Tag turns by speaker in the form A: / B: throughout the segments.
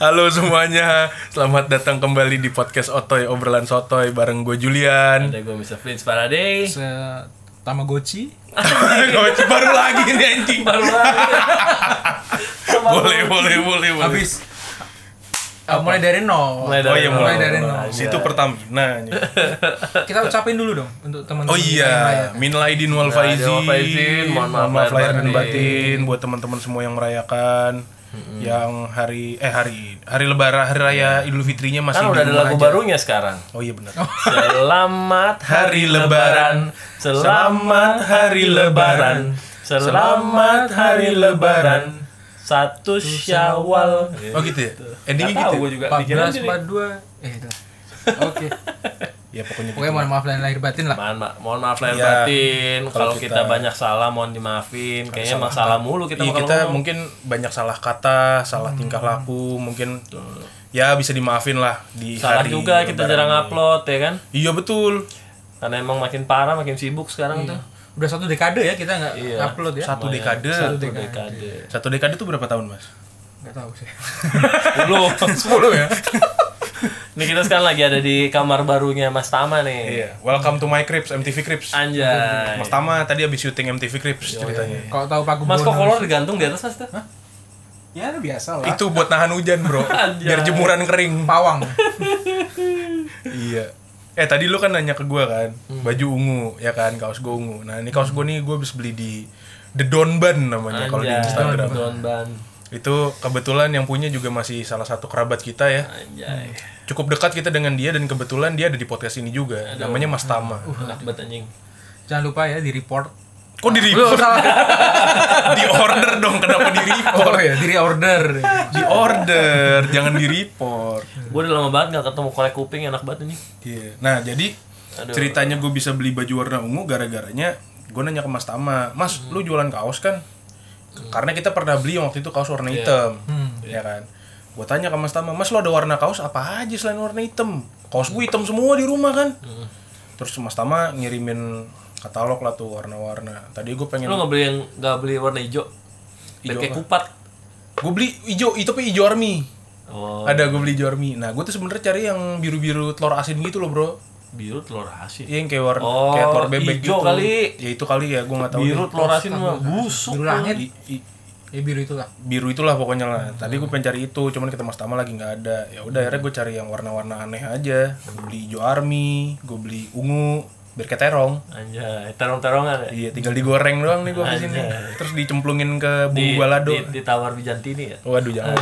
A: Halo semuanya, selamat datang kembali di podcast Otoy Obrolan Sotoy bareng gue Julian.
B: Ada gue Mr. Flint's Faraday
C: Se Tamagotchi
A: Gocek, baru lagi nih anjing.
B: Baru
A: Boleh, boleh, boleh, boleh.
C: habis Eh, mulai dari nol
B: Mulai
A: Oh iya,
B: dari nol. Iya.
A: mulai dari
C: nol.
A: nol. Situ Pertamina. anjing.
C: kita ucapin dulu dong untuk teman-teman
A: Oh iya,
C: yang merayakan.
A: Minal Aidin wal
B: Minal Aidin
A: Faizin,
B: wal Faizin, mohon maaf
A: maaf
B: lahir
A: lahir dan
B: batin.
A: batin buat teman-teman semua yang merayakan yang hari eh hari hari lebaran hari raya Idul Fitrinya masih
B: Kan
A: di
B: udah ada
A: rumah
B: lagu
A: aja.
B: barunya sekarang
A: Oh iya benar.
B: Selamat
A: Hari Lebaran.
B: Selamat Hari Lebaran Selamat Hari Lebaran Satu Syawal
A: Oh gitu ya.
B: Nggak
A: Endingnya
B: tahu
A: gitu.
B: gue juga pikiran
C: 14,
B: sendiri.
C: 42 eh itu oke
A: Ya pokoknya
B: Iya,
C: pokoknya mohon maaf lain lahir batin lah
B: Mohon, ma- mohon maaf lahir
A: Iya.
B: batin kalau
A: Kalau
B: kita,
A: kita-
B: banyak salah mohon dimaafin kayaknya emang salah mulu kita
A: Iya,
B: kalau
A: kita
B: ngomong. Hmm.
A: mungkin banyak salah kata, salah tingkah laku, mungkin ya bisa dimaafin lah di
B: salah
A: hari
B: juga kita
A: lebaran
B: jarang
A: ini.
B: upload ya kan
A: Iya betul.
B: karena emang makin parah makin sibuk sekarang tuh
C: udah satu dekade ya kita nggak
B: Iya.
C: upload ya
A: Satu dekade.
B: satu dekade
A: Satu dekade itu berapa tahun, Mas?
C: nggak tahu sih
B: Sepuluh.
C: sepuluh ya
B: Nih kita sekarang lagi ada di kamar barunya Mas Tama nih.
A: Iya. Welcome to my Crips, MTV Crips.
B: Anjay.
A: Mas Tama tadi habis syuting MTV Crips ceritanya.
C: kalau tahu Pak
B: Mas kok
C: Gubernur-
B: kolor digantung di atas Mas tuh?
C: ya biasa lah
A: Itu buat nahan hujan, Bro.
B: Anjay.
A: Biar jemuran kering.
C: pawang
A: iya. Eh tadi lu kan nanya ke gua kan,
B: Hmm.
A: baju ungu ya kan, kaos gua ungu. Nah, ini kaos gua nih gua habis beli di The Donban namanya Nah, kalau di
B: Anjay.
A: Instagram.
B: Don Ban.
A: Itu kebetulan yang punya juga masih salah satu kerabat kita ya.
B: Anjay.
A: Cukup dekat kita dengan dia dan kebetulan dia ada di podcast ini juga. Namanya Mas Tama.
B: Enak banget anjing.
C: jangan lupa ya di report
A: Kok di
C: Lu
A: report?
C: salah
A: di order dong, kenapa di report?
C: oh ya di reorder
A: Di order, jangan di report.
B: Gue udah lama banget gak ketemu korek kuping enak banget anjing.
A: Iya. Nah, jadi
B: Aduh.
A: ceritanya gue bisa beli baju warna ungu gara-garanya gue nanya ke Mas Tama, "Mas, lu jualan kaos kan?" Karena kita pernah beli yang waktu itu kaos warna hitam. Ya kan? Gue tanya ke Mas Tama, "Mas, lu ada warna kaos apa aja selain warna hitam?" Kaos gue hitam semua di rumah kan. Terus Mas Tama ngirimin katalog lah tuh warna-warna. Tadi gue pengen
B: Lu gak beli yang gak beli warna hijau? Biar
A: Hijau
B: kayak
A: apa?
B: kupat.
A: gue beli hijau, itu tapi hijau army.
B: Oh,
A: Ada gue beli hijau army. Nah, gue tuh sebenernya cari yang biru-biru telur asin gitu loh, Bro.
B: biru telur asin.
A: Iya yang kayak warna
B: Oh,
A: kayak telur bebek
B: hijau
A: gitu.
B: kali.
A: Ya itu kali ya, gua nggak tahu.
B: Biru
A: deh.
B: telur asin mah busuk.
C: biru langit
A: I- i-
C: ya biru itu lah
A: biru itulah pokoknya lah. Tadi gua pengen cari itu, cuman kita Mas Tama lagi nggak ada. Ya udah akhirnya gua cari yang warna-warna aneh aja. Gua beli hijau army, gua beli ungu, biar kayak terong.
B: Anjay, terong-terongan ya.
A: Iya, tinggal digoreng doang nih gua kesini. Terus dicemplungin ke bumbu
B: Di,
A: balado.
B: di, ditawar bijantini ya.
A: Waduh jangan.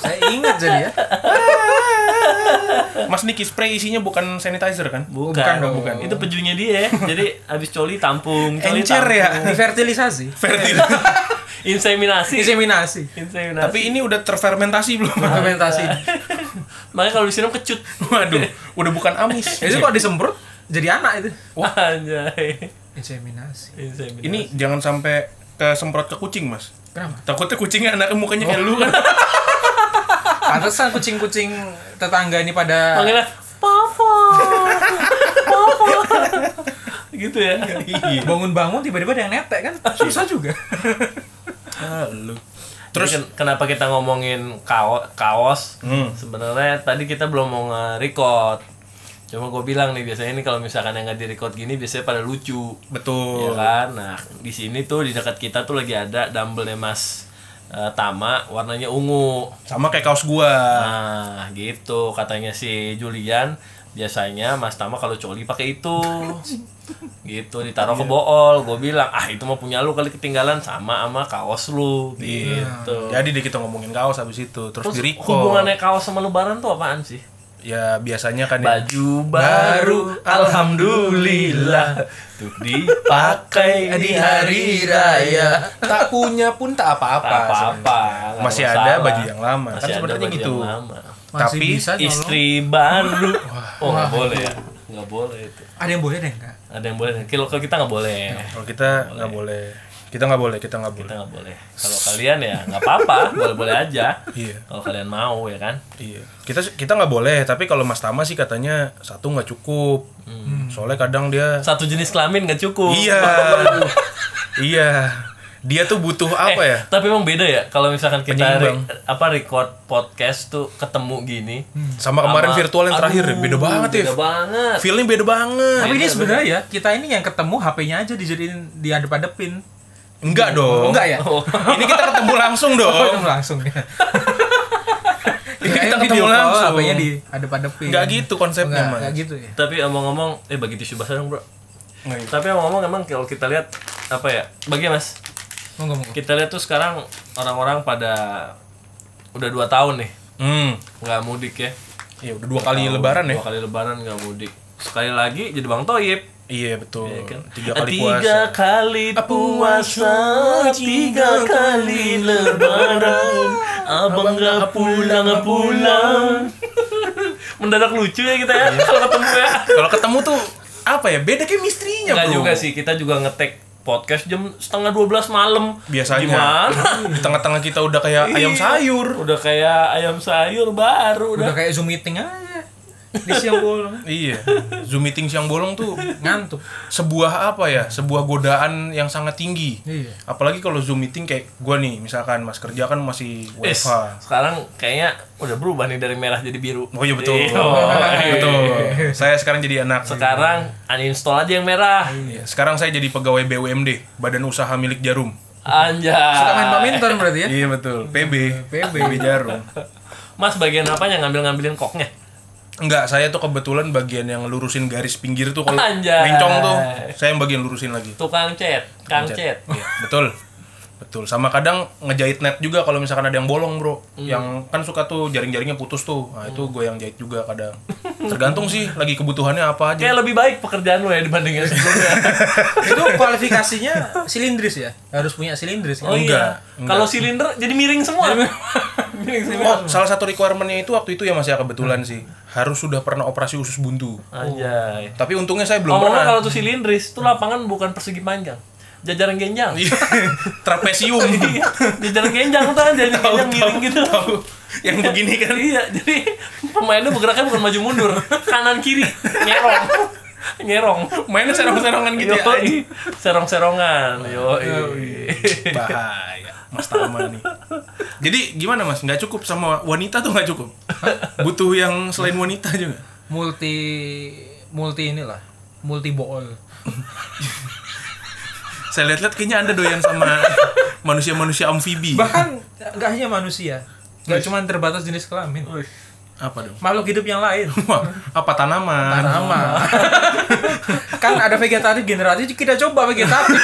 C: saya ingat jadi ya
A: Mas Niki spray isinya bukan sanitizer kan?
B: Bukan,
C: bukan dong,
B: bukan. Itu pejunya dia. Jadi abis coli tampung, coli
A: Encer
B: tampung.
A: ya.
C: Divertilisasi
A: Fertil.
B: Inseminasi.
C: Diseminasi
B: Inseminasi.
A: Tapi ini udah terfermentasi belum?
C: Fermentasi
B: Makanya kalau disiram kecut.
A: Waduh, udah bukan amis.
C: Itu kok disemprot jadi anak itu
B: Wah, anjay.
C: Inseminasi
B: Inseminasi.
A: Ini jangan sampai kesemprot ke kucing, Mas.
C: Kenapa?
A: Takutnya kucingnya anaknya mukanya kayak lu kan.
C: Pantesan kucing-kucing tetangga ini pada
B: panggilnya Papa. Papa. gitu ya.
A: Iya.
C: bangun-bangun tiba-tiba ada yang netek kan Susah juga
A: Ah, lu.
B: Terus
A: Terus
B: kenapa kita ngomongin kaos? kaos?
A: Hmm.
B: Sebenarnya tadi kita belum mau nge-record. Cuma gue bilang nih biasanya ini kalau misalkan yang nggak di-record gini biasanya pada lucu. Ya
A: betul.
B: kan? Nah, di sini tuh di dekat kita tuh lagi ada dumbbellnya Mas eh, Tama warnanya ungu.
A: Sama kayak kaos gua.
B: Nah, gitu katanya si Julian biasanya Mas Tama kalau coli pakai itu. gitu ditaruh ke bool, gue bilang ah itu mah punya lu kali ketinggalan sama sama kaos lu gitu.
A: Iya. Jadi deh kita ngomongin kaos habis itu, terus,
B: Terus
A: di record.
B: hubungannya kaos sama lebaran tuh apaan sih?
A: Ya biasanya kan ya.
B: Baju Iya. baru, alhamdulillah, untuk dipakai di hari raya.
A: tak punya pun tak apa-apa.
B: Tak Apa-apa, nggak
A: Masih
B: masalah.
A: ada baju yang lama. Kan
B: Masih ada
A: sebenarnya
B: baju
A: gitu.
B: yang lama.
C: Masih
A: Tapi
C: bisa nyolong.
B: Istri baru. Oh, nggak boleh ya. Nggak boleh itu.
C: Ada yang boleh ada yang enggak
B: ada yang boleh kalau kalau kita nggak boleh
A: Kalau kita nggak boleh. Kita nggak boleh, kita nggak
B: kita
A: boleh.
B: nggak boleh kalau kalian ya nggak apa-apa boleh boleh aja
A: Iya.
B: kalau kalian mau ya kan
A: Iya. Kita kita nggak boleh, tapi kalau Mas Tama sih katanya satu nggak cukup. Soalnya kadang dia
B: Eh, satu jenis kelamin nggak cukup
A: Iya. iya. dia tuh butuh apa
B: Eh,
A: ya
B: Tapi emang beda ya kalau misalkan kita
A: Penyeimbang.
B: re- apa record podcast tuh ketemu gini.
A: sama Hmm. kemarin virtual yang terakhir
B: Aduh,
A: beda banget ya
B: Beda banget.
A: feelnya beda banget
C: Tapi ini sebenarnya ya, kita ini yang ketemu HP-nya aja dijadiin diadep-adepin.
A: enggak dong
C: Enggak ya?
B: Oh.
A: ini kita ketemu langsung
C: Oh,
A: dong
C: itu langsung ya.
A: Ini kita
C: Kirain
A: ketemu
C: video call,
A: langsung.
C: HP-nya diadep-adepin.
A: Enggak gitu konsepnya,
C: Iya. Enggak,
A: Mas.
C: enggak gitu ya.
B: Tapi omong-omong eh bagi tisu basah dong, Bro.
A: Enggak gitu.
B: Tapi omong-omong emang kalau kita lihat apa ya? Bagi Mas,
C: Monggo monggo.
B: kita lihat tuh sekarang orang-orang pada udah dua tahun nih
A: hmm
B: nggak mudik ya.
A: ya udah dua kali lebaran ya
B: Dua kali lebaran nggak mudik. Sekali lagi jadi Bang Toyib.
A: iya betul
B: Ya kan?
A: tiga kali
B: Tiga
A: puasa
B: kali puasa, tiga kali lebaran, abang nggak pulang nggak pulang. Mendadak lucu ya kita ya kalau ketemu ya.
A: kalau ketemu tuh apa ya beda chemistry-nya
B: Nggak
A: bro
B: juga sih, kita juga ngetek podcast jam setengah 12 malam.
A: Biasanya.
B: Gimana? Iya.
A: di tengah-tengah kita udah kayak ayam sayur
B: Udah kayak ayam sayur baru udah.
C: Udah kayak Zoom meeting aja. Di siang bolong.
A: iya zoom meeting siang bolong tuh
C: Ngantuk.
A: sebuah apa ya sebuah godaan yang sangat tinggi
C: Iya.
A: apalagi kalau zoom meeting kayak gua nih misalkan mas kerja kan masih
B: Wes,
A: WFH
B: Eh, sekarang kayaknya udah berubah nih dari merah jadi biru.
A: oh iya betul
B: Iya.
A: betul saya sekarang jadi anak
B: Sekarang uninstall aja yang merah.
A: Iya, sekarang saya jadi pegawai BUMD badan usaha milik jarum
B: Anjay.
C: Suka main badminton berarti ya?
A: iya betul PB
C: PB.
A: jarum
B: Mas bagian apanya ngambil-ngambilin koknya?
A: Enggak, saya tuh kebetulan bagian yang lurusin garis pinggir tuh kalau
B: Anjay.
A: bencong tuh saya yang bagian lurusin lagi
B: Tukang cet, kang cet.
A: Iya, betul. Betul. Sama kadang ngejahit net juga kalau misalkan ada yang bolong, Bro.
B: Hmm.
A: Yang kan suka tuh jaring-jaringnya putus tuh. Nah, itu gue yang jahit juga kadang. Tergantung sih lagi kebutuhannya apa aja.
B: Kayak lebih baik pekerjaan lo ya dibandingin sebelumnya.
C: Itu kualifikasinya silindris ya? Harus punya silindris
B: Oh
C: kan?
B: iya.
A: Enggak,
B: Kalau silinder jadi miring semua. miring semua.
A: Oh, salah satu requirementnya itu waktu itu ya masih ya kebetulan
B: Hmm.
A: sih. Harus sudah pernah operasi usus buntu.
B: Anjay.
A: Tapi untungnya saya belum
B: Ngomongnya
A: pernah.
B: kalau tuh silindris, tuh lapangan bukan persegi panjang. Jajaran genjang.
A: Iya. Trapesium.
B: Iya, jajaran genjang tuh kan jajaran genjang miring gitu.
A: yang begini kan.
B: Iya, jadi pemainnya bergeraknya bukan maju mundur, kanan kiri, nyerong. nyerong.
A: Mainnya serong-serongan gitu ya. Nah, iya,
B: Yoi. serong-serongan. Yoi.
A: bahaya mas Tama nih jadi gimana mas nggak cukup sama wanita tuh nggak cukup butuh yang selain wanita juga
C: Multi multi inilah, multi bool.
A: saya lihat-lihat kayaknya anda doyan sama manusia-manusia amfibi
C: Bahkan nggak hanya manusia, nggak cuma terbatas jenis kelamin.
A: apa dong
C: Makhluk hidup yang lain.
A: Wah, apa tanaman
C: Sama. kan ada vegetatif generatif, kita coba vegetatif.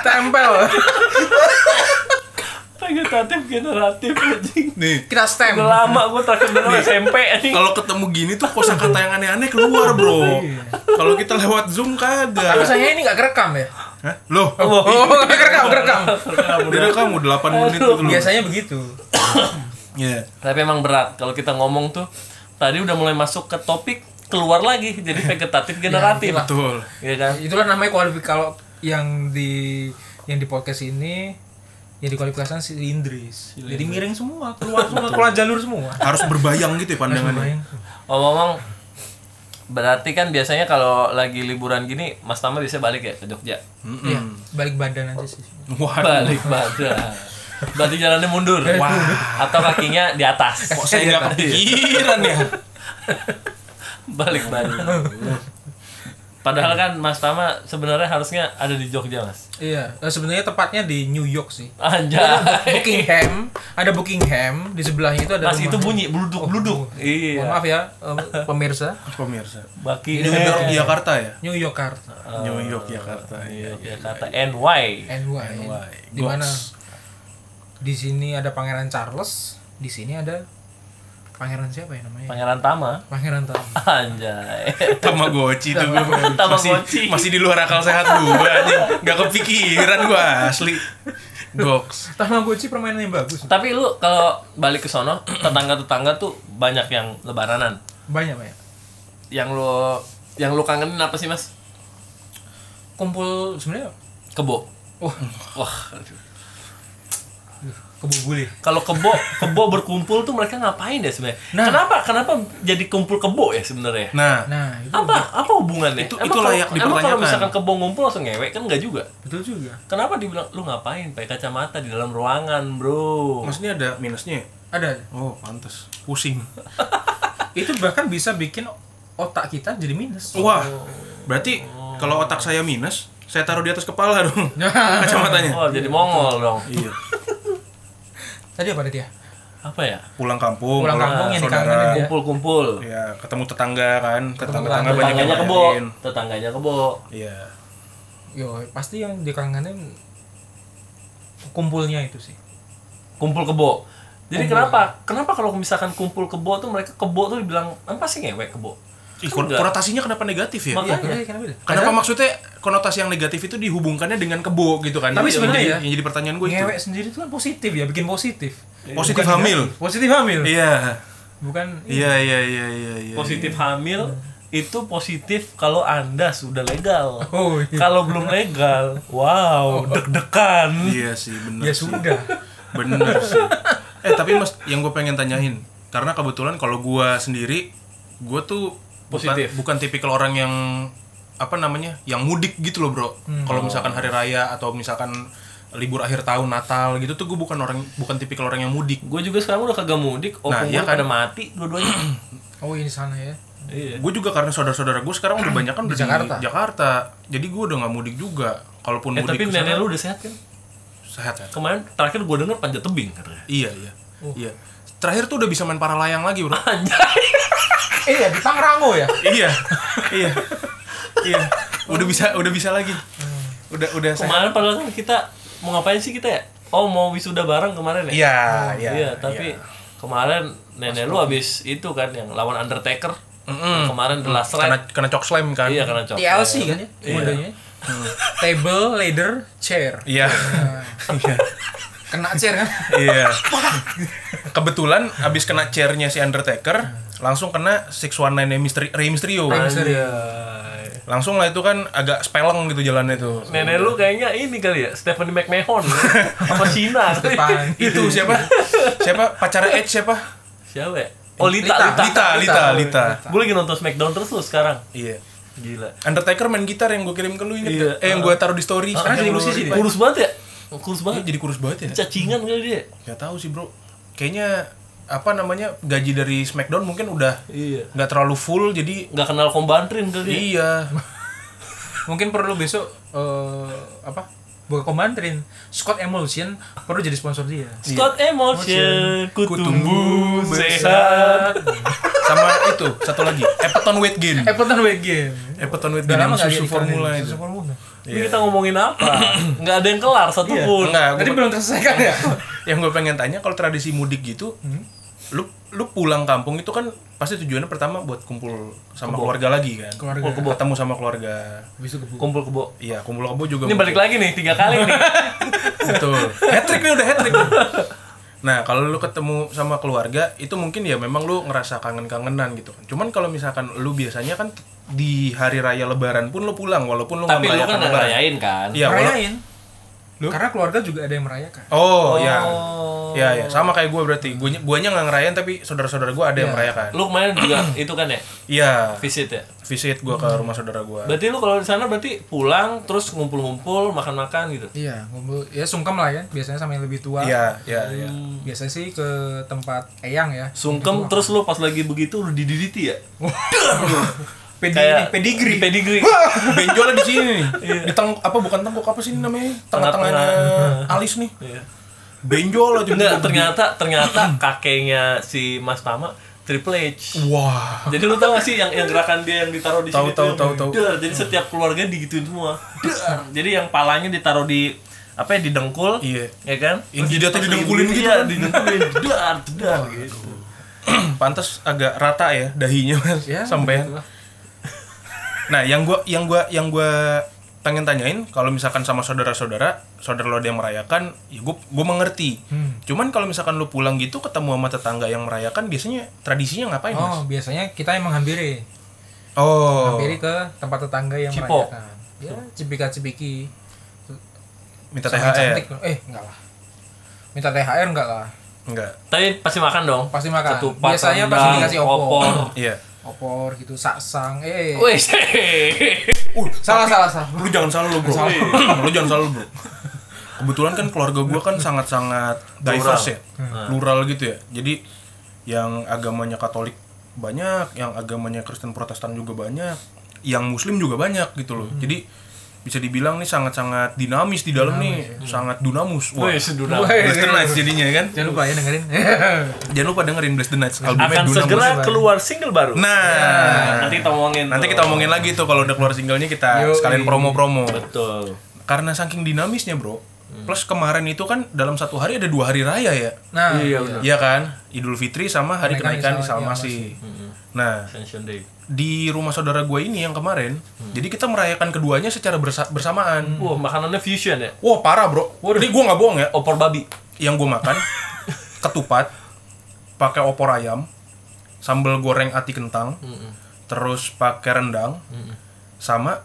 C: Tempel,
B: Vegetatif generatif anjing.
A: nih
C: kita stem.
B: Udah lama gue terakhir dengar SMP anjing.
A: Iya. kalau ketemu gini tuh kosakata yang aneh-aneh keluar bro kalau kita lewat zoom
C: Tapi
A: kagak
C: sayangnya ini nggak kerekam ya?
A: Hah? loh
C: Oh, kerekam, kerekam.
A: udah kamu 8 menit tuh dulu
C: Biasanya begitu.
A: Iya.
B: Tapi emang berat kalau kita ngomong tuh. Tadi udah mulai masuk ke topik keluar lagi jadi vegetatif generatif.
A: betul
B: Iya kan?
C: Itulah namanya kualifikasi kalau yang di yang di podcast ini yang dikualifikasikan si Indris. Jadi miring semua, keluar semua, keluar jalur semua.
A: harus berbayang gitu ya pandangannya
C: Bayang.
B: Ngomong-ngomong berarti kan biasanya kalau lagi liburan gini Mas Tama bisa balik ya ke Jogja.
C: Iya, balik badan aja sih.
A: wah
B: Balik badan. Berarti jalannya mundur. Atau kakinya di atas.
A: kok saya nggak
C: Iya,
B: Iya.
A: kepikiran ya
B: balik badan. Padahal kan Mas Tama sebenarnya harusnya ada di Jogja, Mas.
C: Iya, eh, sebenarnya tepatnya di New York sih.
B: Anjay.
C: Buckingham, ada Buckingham di sebelahnya itu ada
B: Mas
C: rumah.
B: itu bunyi bluduk bluduk.
C: Mohon
B: Iya.
C: maaf ya, em, pemirsa.
A: pemirsa
B: Baki
A: New York Jakarta ya
C: New Yorkarta,
A: New York Jakarta
B: Iya, iya, kata NY.
C: NY.
A: Why?
C: Di mana?
A: Goks.
C: Di sini ada Pangeran Charles, di sini ada Pangeran siapa ya namanya?
B: Pangeran Tama.
C: Pangeran Tom.
B: Anjay.
A: Tamagotchi tuh gua. masih,
B: Tamagotchi.
A: masih di luar akal sehat gua anjing nggak kepikiran gua asli goks
C: Tamagotchi permainan yang bagus.
B: Tapi lu kalau balik ke sono, tetangga-tetangga tuh banyak yang lebaranan.
C: Banyak banyak.
B: Yang lu yang lu kangenin apa sih, Mas?
C: Kumpul sebenarnya oh,
B: Kebo.
C: Wah.
B: Wah. aduh.
C: kebubuli
B: Kalau kebo kebo berkumpul tuh mereka ngapain ya sebenarnya?
C: Nah.
B: Kenapa kenapa jadi kumpul kebo ya sebenarnya?
A: Nah,
C: nah itu
B: Apa apa hubungannya?
A: Itu-
B: Emang
A: itu
B: kalau-
A: layak
B: Emang kalau
A: dipertanyakan.
B: misalkan kebo ngumpul langsung ngewek kan enggak juga.
C: betul juga
B: Kenapa dibilang lu ngapain pakai kacamata di dalam ruangan, Bro?
A: maksudnya ada minusnya. ya?
C: ada
A: Oh, pantes. Pusing.
C: itu bahkan bisa bikin otak kita jadi minus
A: Wah, berarti kalau otak saya minus, saya taruh di atas kepala dong kacamatanya.
B: Oh, jadi mongol dong.
A: Iya.
C: tadi apa tadi ya
B: Apa ya?
A: Pulang kampung,
C: Pulang kampung yang
A: saudara.
C: dikangenin ya.
B: Kumpul-kumpul.
A: Ya, ketemu tetangga kan, tetangga-tetangga
C: tetangga.
A: Iya. banyak yang
B: Tetangganya kebo.
A: nanyain.
B: Tetangganya kebo.
A: Iya.
C: yo pasti yang dikangenin kumpulnya itu sih
B: kumpul kebo. Jadi kenapa? Kenapa kalau misalkan kumpul kebo tuh mereka kebo tuh dibilang apa sih ngewek kebo? Kan
A: Ih, kon-
B: Enggak.
A: konotasinya kenapa negatif ya?
B: Makanya.
C: Iya, kenapa beda?
A: Kenapa maksudnya konotasi yang negatif itu dihubungkannya dengan kebo gitu kan?
C: Tapi
A: Yang
C: sebenarnya
A: jadi-
C: ya,
A: yang jadi pertanyaan gue itu.
C: ngewek sendiri itu kan positif ya bikin positif
A: Positif
C: Bukan
A: hamil.
C: negatif. positif hamil
A: Iya.
C: bukan
A: Iya, iya, iya, iya, iya.
B: Positif hamil itu positif kalau anda sudah legal.
C: Oh, iya.
B: Kalau belum legal,
A: Oh.
B: wow deg-degan.
A: Iya sih, bener.
C: ya
A: sih.
C: sudah
A: Bener sih. Eh tapi mas, yang gue pengen tanyain, karena kebetulan kalau gue sendiri, gue tuh bukan-
B: Positif.
A: bukan, tipikal orang yang apa namanya, yang mudik gitu loh bro.
C: Hmm.
A: Kalau misalkan hari raya atau misalkan libur akhir tahun Natal gitu tuh gue bukan orang bukan tipikal orang yang mudik.
B: Gue juga sekarang udah kagak mudik. Oh,
A: Nah,
B: nah,
A: iya kan.
B: pada mati dua-duanya.
C: oh ini sana ya
B: iya.
A: Gue juga karena saudara-saudara gue sekarang udah banyak kan
C: Di
A: udah
C: Jakarta.
A: di Jakarta, jadi gue udah nggak mudik juga. Kalaupun
B: Eh
A: mudik
B: tapi
A: kesana,
B: nenek lu udah sehat kan?
A: sehat ya.
B: Kemarin terakhir gue denger panjat tebing katanya.
A: Iya iya
B: Oh.
A: iya. Terakhir tuh udah bisa main para layang lagi bro.
B: Anjay.
C: eh ya di Pangrango ya
A: iya iya iya udah bisa udah bisa lagi
B: Hmm.
A: udah udah saya
B: Kemarin padahal kan kita mau ngapain sih kita ya? Oh mau wisuda bareng kemarin ya?
A: iya iya
B: Iya, tapi kemarin nenek lu habis itu kan yang lawan Undertaker. Yang Kemarin The Last
A: kena
B: Ride.
A: kena cok slam kan
B: Iya, karena cok.
C: TLC kan ya modelnya table ladder chair
A: iya Iya.
C: kena chair kan
A: iya kebetulan abis kena chairnya si Undertaker langsung kena 619 nya Misteri, Rey Mysterio
C: ya?
B: Anjay.
A: langsung lah itu kan agak speleng gitu jalannya tuh
B: Nenek lu kayaknya ini kali ya, Stephanie McMahon. Apa Sina? kali.
C: Depan.
A: itu siapa siapa pacarnya Edge siapa
B: Siapa ya? Oh, Lita,
C: Lita.
B: Lita.
A: Lita Lita Lita
B: Gue lagi nonton Smackdown terus lu sekarang.
A: iya
B: Gila.
A: Undertaker main gitar yang gue kirim ke lu inget
B: Iya.
A: gak? eh yang gue taruh di story
C: Sekarang Ah, jadi
A: Yang lu
C: musisi
A: reply.
C: dia.
B: Kurus banget ya? Kurus
A: Iya,
B: banget.
A: jadi kurus banget ya
B: Cacingan kali dia.
A: Gak tahu sih bro. Kayaknya apa namanya gaji dari Smackdown mungkin udah
B: Iya.
A: nggak terlalu full jadi
B: Gak kenal kombantrin kali dia.
A: iya
C: mungkin perlu besok eh, apa buka komantrin Scott Emulsion perlu jadi sponsor dia
B: Scott Emotion, ku tumbuh
A: Kutumbuh
B: sehat.
A: sama itu satu lagi Everton weight gain
C: Everton Wake Game
A: Everton weight
C: udah
A: gain
C: lama
A: yang
C: nggak
A: kan? susu
C: diiklanin.
A: formula itu
C: susu formula
B: Ini kita ngomongin apa? Iya. Nggak ada yang kelar satu pun.
A: enggak
C: tadi
A: gua-
C: belum terselesaikan ya
A: yang gue pengen tanya kalau tradisi mudik gitu lu lu pulang kampung itu kan pasti tujuannya pertama buat kumpul sama keluarga lagi kan
C: Keluarga.
A: Kumpul kebo. ketemu sama keluarga
C: besok kebuka
B: Kumpul kebo.
A: iya kumpul kebo juga
B: Ini balik lagi nih tiga kali nih.
A: Betul. hat trick nih udah hat trick. Nah, kalau lu ketemu sama keluarga itu mungkin ya memang lu ngerasa kangen-kangenan gitu kan. Cuman kalau misalkan lu biasanya kan di hari raya lebaran pun lu pulang walaupun lu nggak
B: Tapi lu kan
A: merayakan
B: nggak
A: lebaran.
B: ngerayain kan?
A: Iya, wala-
C: merayain karena keluarga juga ada yang merayakan
A: Oh, iya.
B: Oh.
A: Iya, iya. Sama kayak gue berarti. Guanya guanya nggak ngerayain tapi saudara-saudara gue ada yang merayakan.
B: Lu kemarin juga itu kan ya
A: Iya.
B: visit ya.
A: Visit gue ke rumah saudara gue.
B: Berarti lu kalau di sana berarti pulang terus ngumpul-ngumpul makan-makan gitu.
C: iya ngumpul ya sungkem lah ya biasanya sama yang lebih tua
A: Iya, iya, iya.
C: biasanya sih ke tempat eyang ya
B: Sungkem terus lu pas lagi begitu lu dididiti ya.
C: Pedi
B: Kayak
C: ini, pedigree
B: di Pedigree.
A: Benjolnya di sini nih. Di teng apa bukan tengkuk apa sih ini namanya? Tengah-tengahnya alis nih.
B: Iya.
A: Benjol aja.
B: Enggak, ternyata ternyata kakeknya si Mas Tama Triple H.
A: Wah.
B: Jadi lu tau gak sih yang, yang gerakan dia yang ditaruh di
A: Tahu,
B: sini?
A: tahu,
B: tuh
A: tahu,
B: yang
A: tahu.
B: dar. Jadi setiap keluarga digituin semua. Dar. Jadi yang palanya ditaruh di apa ya di dengkul?
A: Iya.
B: Ya kan?
A: Yang
B: Terus
A: jidatnya
B: pas
A: didengkulin
B: lagi-
A: gitu
B: Iya,
A: kan?
B: didengkulin. Dar, dar gitu.
A: pantas agak rata ya gitu dahinya mas
C: Ya,
A: sampai
C: begitulah.
A: nah yang gua yang gua yang gua pengen tanyain kalau misalkan sama saudara-saudara saudara lo ada yang merayakan ya gua gua mengerti cuman kalau misalkan lu pulang gitu ketemu sama tetangga yang merayakan biasanya tradisinya ngapain mas
C: oh biasanya kita yang menghampiri
A: oh
C: hampiri ke tempat tetangga yang
B: Cipok.
C: merayakan ya cipika cipiki
A: minta
C: Sampai
A: thr
C: cantik. eh enggak lah minta THR enggak lah
A: Enggak.
B: Tapi pasti makan dong.
C: pasti makan
B: Ketupat,
C: biasanya pasti
B: rendang,
C: dikasih opor
B: opor.
C: opor,
A: Iya.
C: gitu saksang eh
B: Wes.
A: Uh,
C: salah salah salah
A: lu jangan salah lu bro. Iya. lu jangan salah lu bro. Kebetulan kan keluarga gua kan sangat-sangat diverse ya, plural gitu ya. Jadi yang agamanya Katolik banyak, yang agamanya Kristen Protestan juga banyak, yang Muslim juga banyak gitu loh. Jadi bisa dibilang nih sangat-sangat dinamis iya. di dalam nih, sangat dunamus. Wah,
B: Wes, dunamis.
A: Blessed the Nights jadinya kan.
C: jangan lupa ya dengerin
A: Jangan lupa dengerin Blessed the Nights albumnya
B: Akan
A: Dunamus.
B: segera keluar single baru.
A: Nah,
B: Nanti kita omongin.
A: nanti
B: tuh.
A: kita omongin lagi tuh kalau udah keluar singlenya kita
C: Yoi.
A: sekalian promo-promo.
B: Betul.
A: Karena saking dinamisnya, Bro.
B: Hmm.
A: Plus kemarin itu kan dalam satu hari ada dua hari raya ya.
C: nah
B: Iya, benar.
A: Iya kan? Idul Fitri sama hari kenaikan
C: Kenaikan
A: Isa
C: Isa- iya,
A: Masih. Nah,
B: Ascension Day.
A: di rumah saudara gue ini yang kemarin,
B: Hmm.
A: jadi kita merayakan keduanya secara bersa- bersamaan.
B: Wah, makanannya fusion ya.
A: Wah, parah, Bro. Ini gue nggak bohong ya.
B: Opor babi.
A: Yang gue makan ketupat pakai opor ayam, sambal goreng ati kentang,
B: Hmm.
A: terus pakai rendang, sama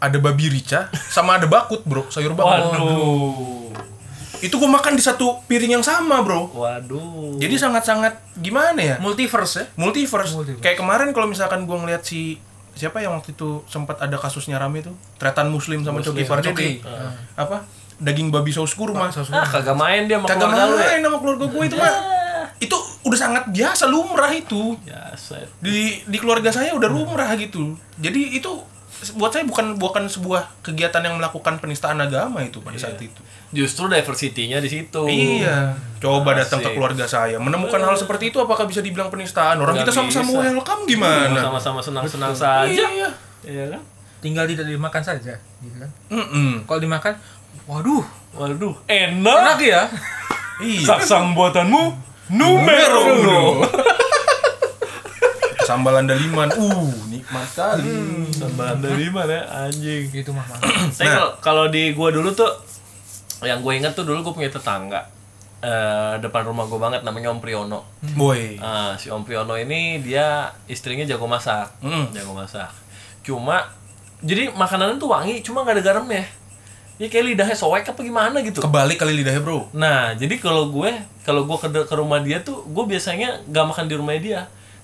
A: ada babi rica, sama ada bakut, Bro. Sayur bakut.
B: Waduh.
A: itu gue makan di satu piring yang sama bro
B: Waduh.
A: jadi sangat-sangat gimana ya
C: multiverse ya
A: multiverse,
C: Multiverse.
A: kayak kemarin kalau misalkan gue ngeliat si siapa yang waktu itu sempat ada kasusnya rame tuh tretan muslim sama Coki Pardede
C: Coki.
A: apa daging babi saus kurma
B: Ah, kagak main dia sama
A: kagak
B: keluarga lu ya.
A: main sama keluarga gue itu mah itu udah sangat biasa lumrah itu
B: Ya, set.
A: di di keluarga saya udah lumrah gitu jadi itu buat saya bukan bukan sebuah kegiatan yang melakukan penistaan agama itu pada saat itu
B: Justru diversity-nya di situ.
A: Iya. Coba datang ke
B: Asik.
A: keluarga saya, menemukan hal seperti itu apakah bisa dibilang penistaan? Orang
B: Nggak
A: kita sama-sama
B: bisa.
A: welcome gimana?
B: Sama-sama senang-senang saja.
A: Iya.
B: Iya kan?
C: tinggal tidak dimakan saja gitu kan
A: Mm-mm.
C: kalau dimakan waduh
B: Waduh,
C: enak
B: enak.
C: ya
A: Iya.
B: Saksang buatanmu numero uno.
A: Sambal andaliman. Uh, nikmat
B: Hmm.
A: sekali.
B: Tambahan dari mana anjing?
A: Nah.
C: gitu mah Mas.
B: Saya kalau- kalau di gua dulu tuh yang gue inget tuh dulu gue punya tetangga eh, depan rumah gue banget namanya Om Priyono.
A: Boy.
B: Ah, si Om Priyono ini dia istrinya jago masak,
A: Hmm.
B: jago masak. Cuma jadi makanan tuh wangi, cuma nggak ada garam ya. Ya kayak lidahnya soek apa gimana gitu.
A: Kebalik kali lidahnya, Bro.
B: Nah, jadi kalau gue kalau gue ke, ke rumah dia tuh gue biasanya nggak makan di rumahnya dia,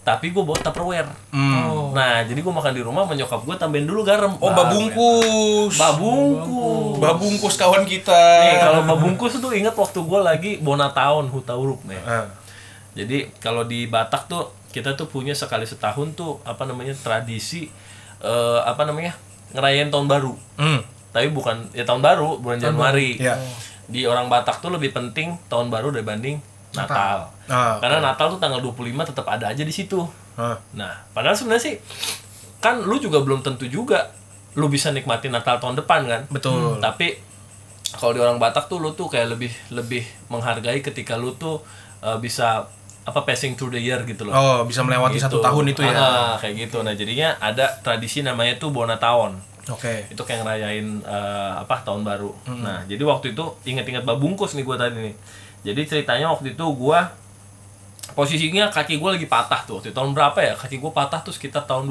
B: tapi gue bawa tupperware.
A: Mm.
B: Nah, jadi gue makan di rumah menyokap gue tambahin dulu garam. Nah,
A: Oh, babungkus.
B: Babungku.
A: Babungkus kawan kita.
B: Nih, Iya, kalau babungkus tuh inget waktu gue lagi Bona Tahun Hutauruk nih.
A: Ah.
B: Jadi kalau di Batak tuh kita tuh punya sekali setahun tuh apa namanya tradisi eh, apa namanya ngerayain tahun baru.
A: Mm.
B: Tapi bukan ya tahun baru bulan Januari.
A: Iya.
B: Di orang Batak tuh lebih penting tahun baru dibanding Natal.
A: Ah.
B: Karena Natal tuh tanggal 25 tetap ada aja di situ.
A: Ah.
B: Nah, padahal sebenarnya sih kan lu juga belum tentu juga lu bisa nikmatin Natal tahun depan kan.
A: Betul.
B: Tapi kalau di orang Batak tuh lu tuh kayak lebih lebih menghargai ketika lu tuh uh, bisa apa passing through the year gitu loh.
A: Oh, bisa melewati
B: Gitu.
A: satu tahun itu ya.
B: Ah, kayak gitu. Nah, jadinya ada tradisi namanya tuh Bona Tahun.
A: Oke.
B: Itu kayak ngerayain uh, apa tahun baru.
A: Hmm.
B: Nah, jadi waktu itu ingat-ingat babungkus nih gua tadi nih. Jadi ceritanya waktu itu gua posisinya kaki gua lagi patah tuh. Waktu itu tahun berapa ya? Kaki gua patah tuh sekitar tahun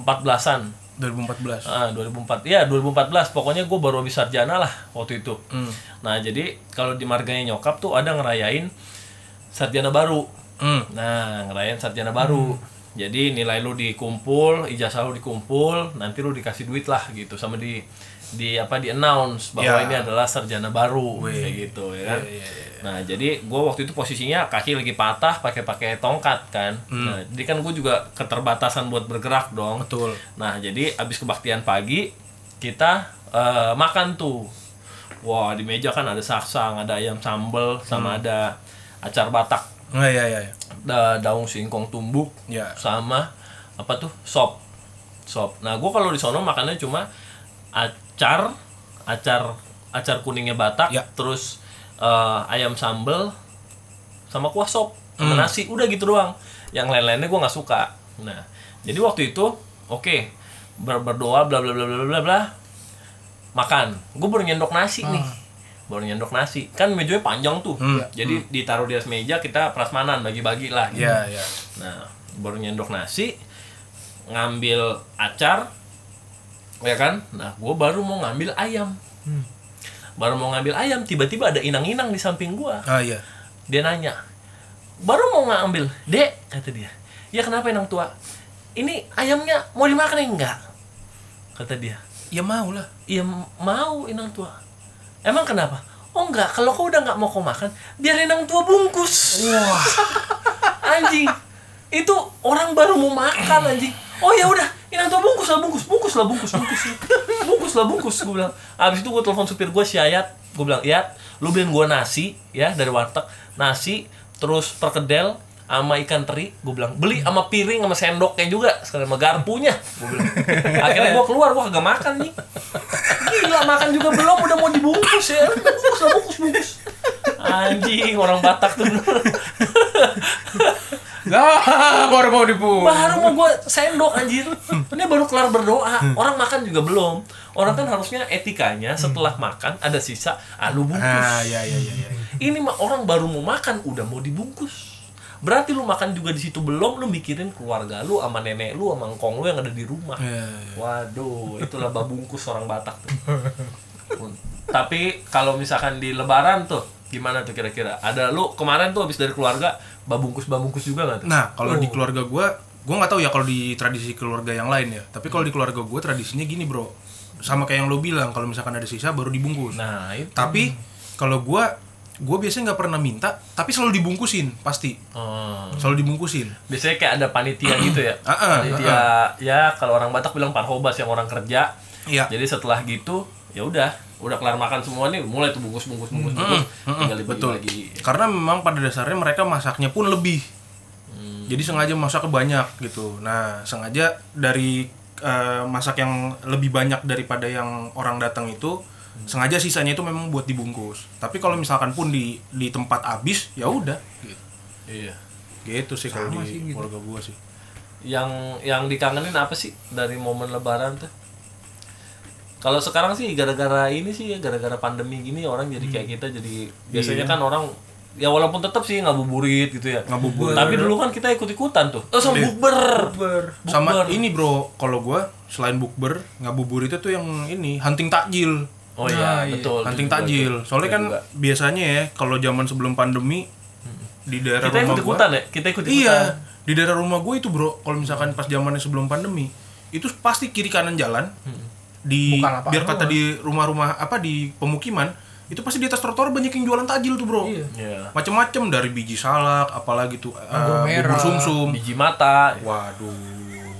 B: 2014-an.
A: 2014.
B: Ah, 2004. Iya, 2014. Pokoknya gue baru habis sarjana lah waktu itu.
A: Hmm.
B: Nah, jadi kalau di marganya nyokap tuh ada ngerayain sarjana baru.
A: Mm.
B: Nah, ngerayain sarjana baru.
A: Hmm.
B: Jadi nilai lu dikumpul, ijazah lu dikumpul, nanti lu dikasih duit lah gitu sama di di apa di announce
A: Ya. Iya,
B: bahwa ini adalah sarjana baru kayak gitu ya kan. Nah, jadi gue waktu itu posisinya kaki lagi patah pakai-pakai tongkat kan. Nah, jadi kan gue juga keterbatasan buat bergerak
A: Hmm.
B: dong.
A: Betul.
B: Nah, jadi abis kebaktian pagi kita eh, makan tuh. Wah, di meja kan ada saksang, ada ayam sambel, sama ada acar Batak,
A: Nah, ya ya ya.
B: da- daun singkong tumbuk,
A: Ya.
B: sama apa tuh sop, sop. Nah, gua kalau di sono makannya cuma acar, acar, acar kuningnya Batak,
A: Ya.
B: terus eh, ayam sambel, sama kuah sop sama
A: Hmm.
B: nasi udah gitu doang yang lain-lainnya gue nggak suka nah jadi waktu itu oke ber- berdoa bla bla bla bla bla bla makan gue baru nyendok nasi nih
A: Hmm.
B: baru nyendok nasi kan mejanya panjang tuh jadi ditaruh di atas meja kita prasmanan bagi-bagi lah gitu.
A: Hmm. Ya ya.
B: nah baru nyendok nasi ngambil acar ya kan nah gue baru mau ngambil ayam baru mau ngambil ayam tiba-tiba ada inang-inang di samping gua
A: ah iya
B: dia nanya baru mau ngambil dek kata dia ya kenapa inang tua ini ayamnya mau dimakan ya enggak kata dia
A: ya mau lah
B: Iya mau inang tua. Emang kenapa? Oh enggak, kalau kau udah nggak mau kau makan, biar inang tua bungkus.
A: wah
B: Anjing, itu orang baru mau makan anjing. Oh ya udah, inang tua bungkus lah bungkus, bungkus lah bungkus, bungkus, bungkus lah bungkus. Gue bilang, abis itu gue telepon supir gue si Ayat, gue bilang, Ayat, lu beliin gue nasi ya dari warteg, nasi, terus perkedel, sama ikan teri, gue bilang beli sama piring sama sendoknya juga, sekalian sama garpunya, gue bilang. Akhirnya gue keluar, gue kagak makan nih. Gila makan juga belum udah mau dibungkus ya. Bungkus lah, bungkus bungkus. Anjing orang Batak tuh bener.
C: Lah, baru mau dibunuh.
B: Baru mau gue sendok anjir. Ini baru kelar berdoa. Orang makan juga belum. Orang kan harusnya etikanya setelah makan ada sisa
A: ah
B: alu bungkus.
A: iya iya iya iya.
B: Ini mah orang baru mau makan udah mau dibungkus. Berarti lu makan juga di situ belum lu mikirin keluarga lu sama nenek lu sama ngkong lu yang ada di rumah.
A: Iya, iya.
B: Waduh, itu laba bungkus orang Batak tuh. Hmm. Tapi kalau misalkan di Lebaran tuh, gimana tuh kira-kira? Ada lu kemarin tuh habis dari keluarga, babungkus babungkus juga nggak tuh?
A: Nah, kalau
C: Oh.
A: di keluarga gua, gua nggak tahu ya kalau di tradisi keluarga yang lain ya. Tapi kalau di keluarga gua tradisinya gini, Bro. Sama kayak yang lo bilang, kalau misalkan ada sisa baru dibungkus.
B: Nah, itu.
A: tapi
C: Hmm.
A: kalau gua gua biasanya nggak pernah minta, tapi selalu dibungkusin, pasti.
B: Oh.
A: Selalu dibungkusin.
B: Biasanya kayak ada panitia gitu ya.
A: Ah, ah,
B: panitia ya kalau orang Batak bilang parhobas yang orang kerja.
A: Iya.
B: Jadi setelah gitu, ya udah, udah kelar makan semua nih, mulai tuh bungkus bungkus bungkus bungkus, tinggal dibagi
A: Hmm, Betul.
B: lagi.
A: Karena memang pada dasarnya mereka masaknya pun lebih.
B: Hmm.
A: Jadi sengaja masak banyak gitu. Nah, sengaja dari eh, masak yang lebih banyak daripada yang orang datang itu
B: Hmm.
A: sengaja sisanya itu memang buat dibungkus. Tapi kalau misalkan pun di di tempat habis ya udah gitu.
B: Iya.
A: Gitu sih kalau
C: Sama sih
A: di
C: gitu.
A: keluarga gua sih.
B: Yang yang dikangenin apa sih dari momen Lebaran tuh? Kalau sekarang sih gara-gara ini sih ya, gara-gara pandemi gini orang jadi kayak
A: Hmm.
B: kita jadi biasanya
A: Iya.
B: kan orang ya walaupun tetap sih ngabuburit gitu ya.
A: Ngabuburit.
B: Tapi dulu kan kita ikut-ikutan tuh. Oh, sama bukber.
A: Sama
B: Bukber.
A: ini bro, kalau gua selain bukber, ngabuburit itu tuh yang ini hunting takjil.
B: Oh
A: Nah,
B: iya, betul.
A: hunting
B: Itu juga
A: takjil.
B: tuh.
A: Soalnya
B: Itu
A: kan
B: juga. Hmm.
A: biasanya ya kalau zaman sebelum pandemi di daerah
B: kita
A: rumah
B: ikut
A: gua
B: ikutan ya? Kita ikut ikutan.
A: Iya, di daerah rumah gue itu bro, kalau misalkan pas zamannya sebelum pandemi, itu pasti kiri kanan jalan. Di
C: Hmm. Bukan lapangan
A: biar kata di rumah-rumah apa di pemukiman, itu pasti di atas trotoar banyak yang jualan takjil tuh bro.
C: Iya.
B: Iya.
A: Macem-macem dari biji salak, apalagi tuh eh,
C: Bubur merah.
A: bubur sumsum.
B: Biji mata.
A: Iya. Waduh.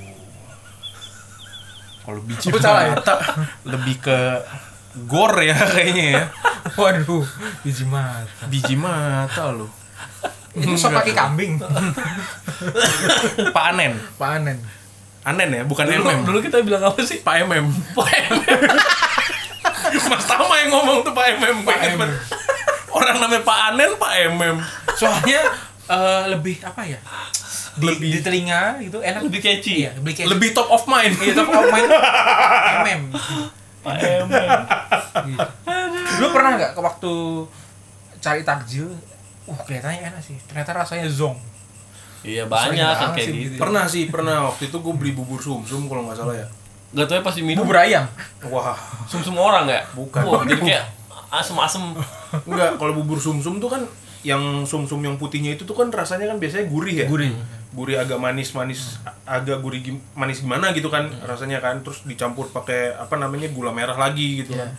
A: Kalau biji
C: Sebut salah ya?
A: mata, lebih ke gor ya kayaknya ya.
C: Waduh, biji mata.
A: Biji mata lo.
C: Itu sop kaki kambing.
A: Pak Anen.
C: Panen.
A: Anen ya, bukan
B: Dulu,
A: MM.
B: dulu kita bilang apa sih?
A: Pak MM. Pak MM. Mas Tama yang ngomong tuh Pak MM. Pak
C: MM.
A: Orang namanya Pak Anen, Pak MM.
C: Soalnya eh, lebih apa ya? Di, di telinga gitu enak
B: Lebih catchy.
C: Iya, lebih kayak
A: Lebih top of mind.
C: Iya, top of mind MM.
B: Pak
A: Iya,
B: Emen.
C: Gitu. Lu pernah nggak ke waktu cari takjil? Uh, kelihatannya enak sih. Ternyata rasanya zong.
B: Iya
C: Sering
B: banyak yang
C: banget
B: kayak
C: sih
B: gitu.
A: Pernah sih, pernah. Waktu itu gue beli bubur sumsum kalau nggak salah ya.
B: Gak tau ya pasti minum
C: Bubur ayam.
A: Wah,
B: sum sum orang ya?
A: Bukan.
B: Wah, jadi kayak asem asem.
A: enggak. Kalau bubur sumsum tuh kan yang sumsum yang putihnya itu tuh kan rasanya kan biasanya gurih ya.
C: Gurih.
A: Gurih agak manis-manis, agak gurih gim- manis gimana gitu kan rasanya kan. Terus dicampur pakai apa namanya gula merah lagi gitu kan.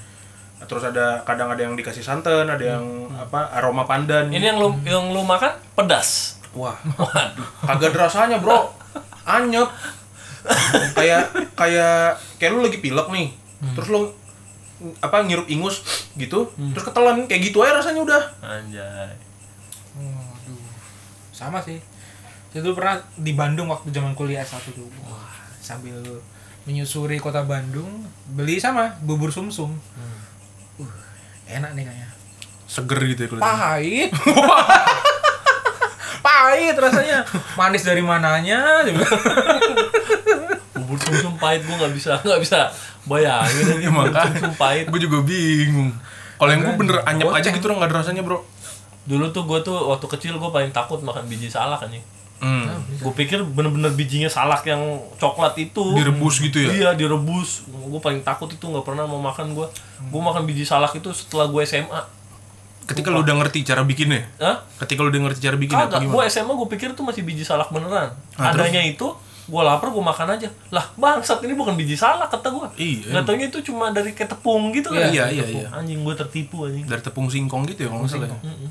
A: Terus ada kadang ada yang dikasih santan, ada yang apa aroma pandan.
B: Ini yang lu yang lu makan pedas.
A: Wah,
B: Waduh.
A: kagak ada rasanya bro, anyep. kayak kayak kayak lu lagi pilek nih, terus lu apa ngirup ingus gitu, terus ketelan kayak gitu aja rasanya udah.
B: Anjay.
C: Waduh. Hmm, iya. Sama sih. Saya dulu pernah di Bandung waktu zaman kuliah satu tuh. Wah, sambil menyusuri kota Bandung, beli sama bubur sumsum. Uh, enak nih kayaknya.
A: Seger gitu ya kelihatan.
C: Pahit. Pahit rasanya. Manis dari mananya? dia bilang.
B: Bubur sum sum pahit gue nggak bisa nggak bisa bayangin.
A: Ya,
B: Bubur
A: makanya.
B: sum sum pahit.
A: Gue juga bingung. Kalau yang gue bener anyep aja
C: Goceng.
A: gitu orang nggak ada rasanya bro.
B: Dulu tuh gue tuh waktu kecil gue paling takut makan biji salak anjing.
A: Hmm.
B: Gue pikir bener-bener bijinya salak yang coklat itu.
A: Direbus gitu ya?
B: Iya, direbus. Gue paling takut itu nggak pernah mau makan gue. Gue makan biji salak itu setelah gue SMA.
A: Ketika lu udah ngerti cara bikinnya.
B: Hah?
A: Ketika lu udah ngerti cara bikinnya apa
B: Kagak, gue
A: gimana?
B: SMA gue pikir tuh masih biji salak beneran.
A: Ah, terus?
B: Adanya itu gue lapar gue makan aja. Lah bangsat ini bukan biji salak kata gue.
A: Iya,
B: Gak taunya itu cuma dari kayak tepung gitu kan.
A: Iya, iya,
B: Tepung.
A: iya.
B: Anjing gue tertipu anjing.
A: Dari tepung singkong gitu ya kalau nggak salah. ya?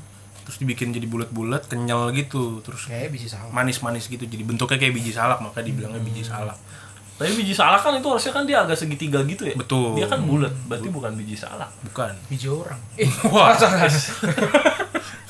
A: Terus dibikin jadi bulat-bulat, kenyal gitu, terus
C: kayak bisa sama
A: manis-manis gitu. Jadi bentuknya kayak biji salak, makanya dibilangnya biji salak.
B: Tapi biji salak kan itu harusnya kan dia agak segitiga gitu ya.
A: Betul.
B: Dia kan bulat, berarti bukan biji salak.
A: Bukan.
C: biji orang eh
A: Wah.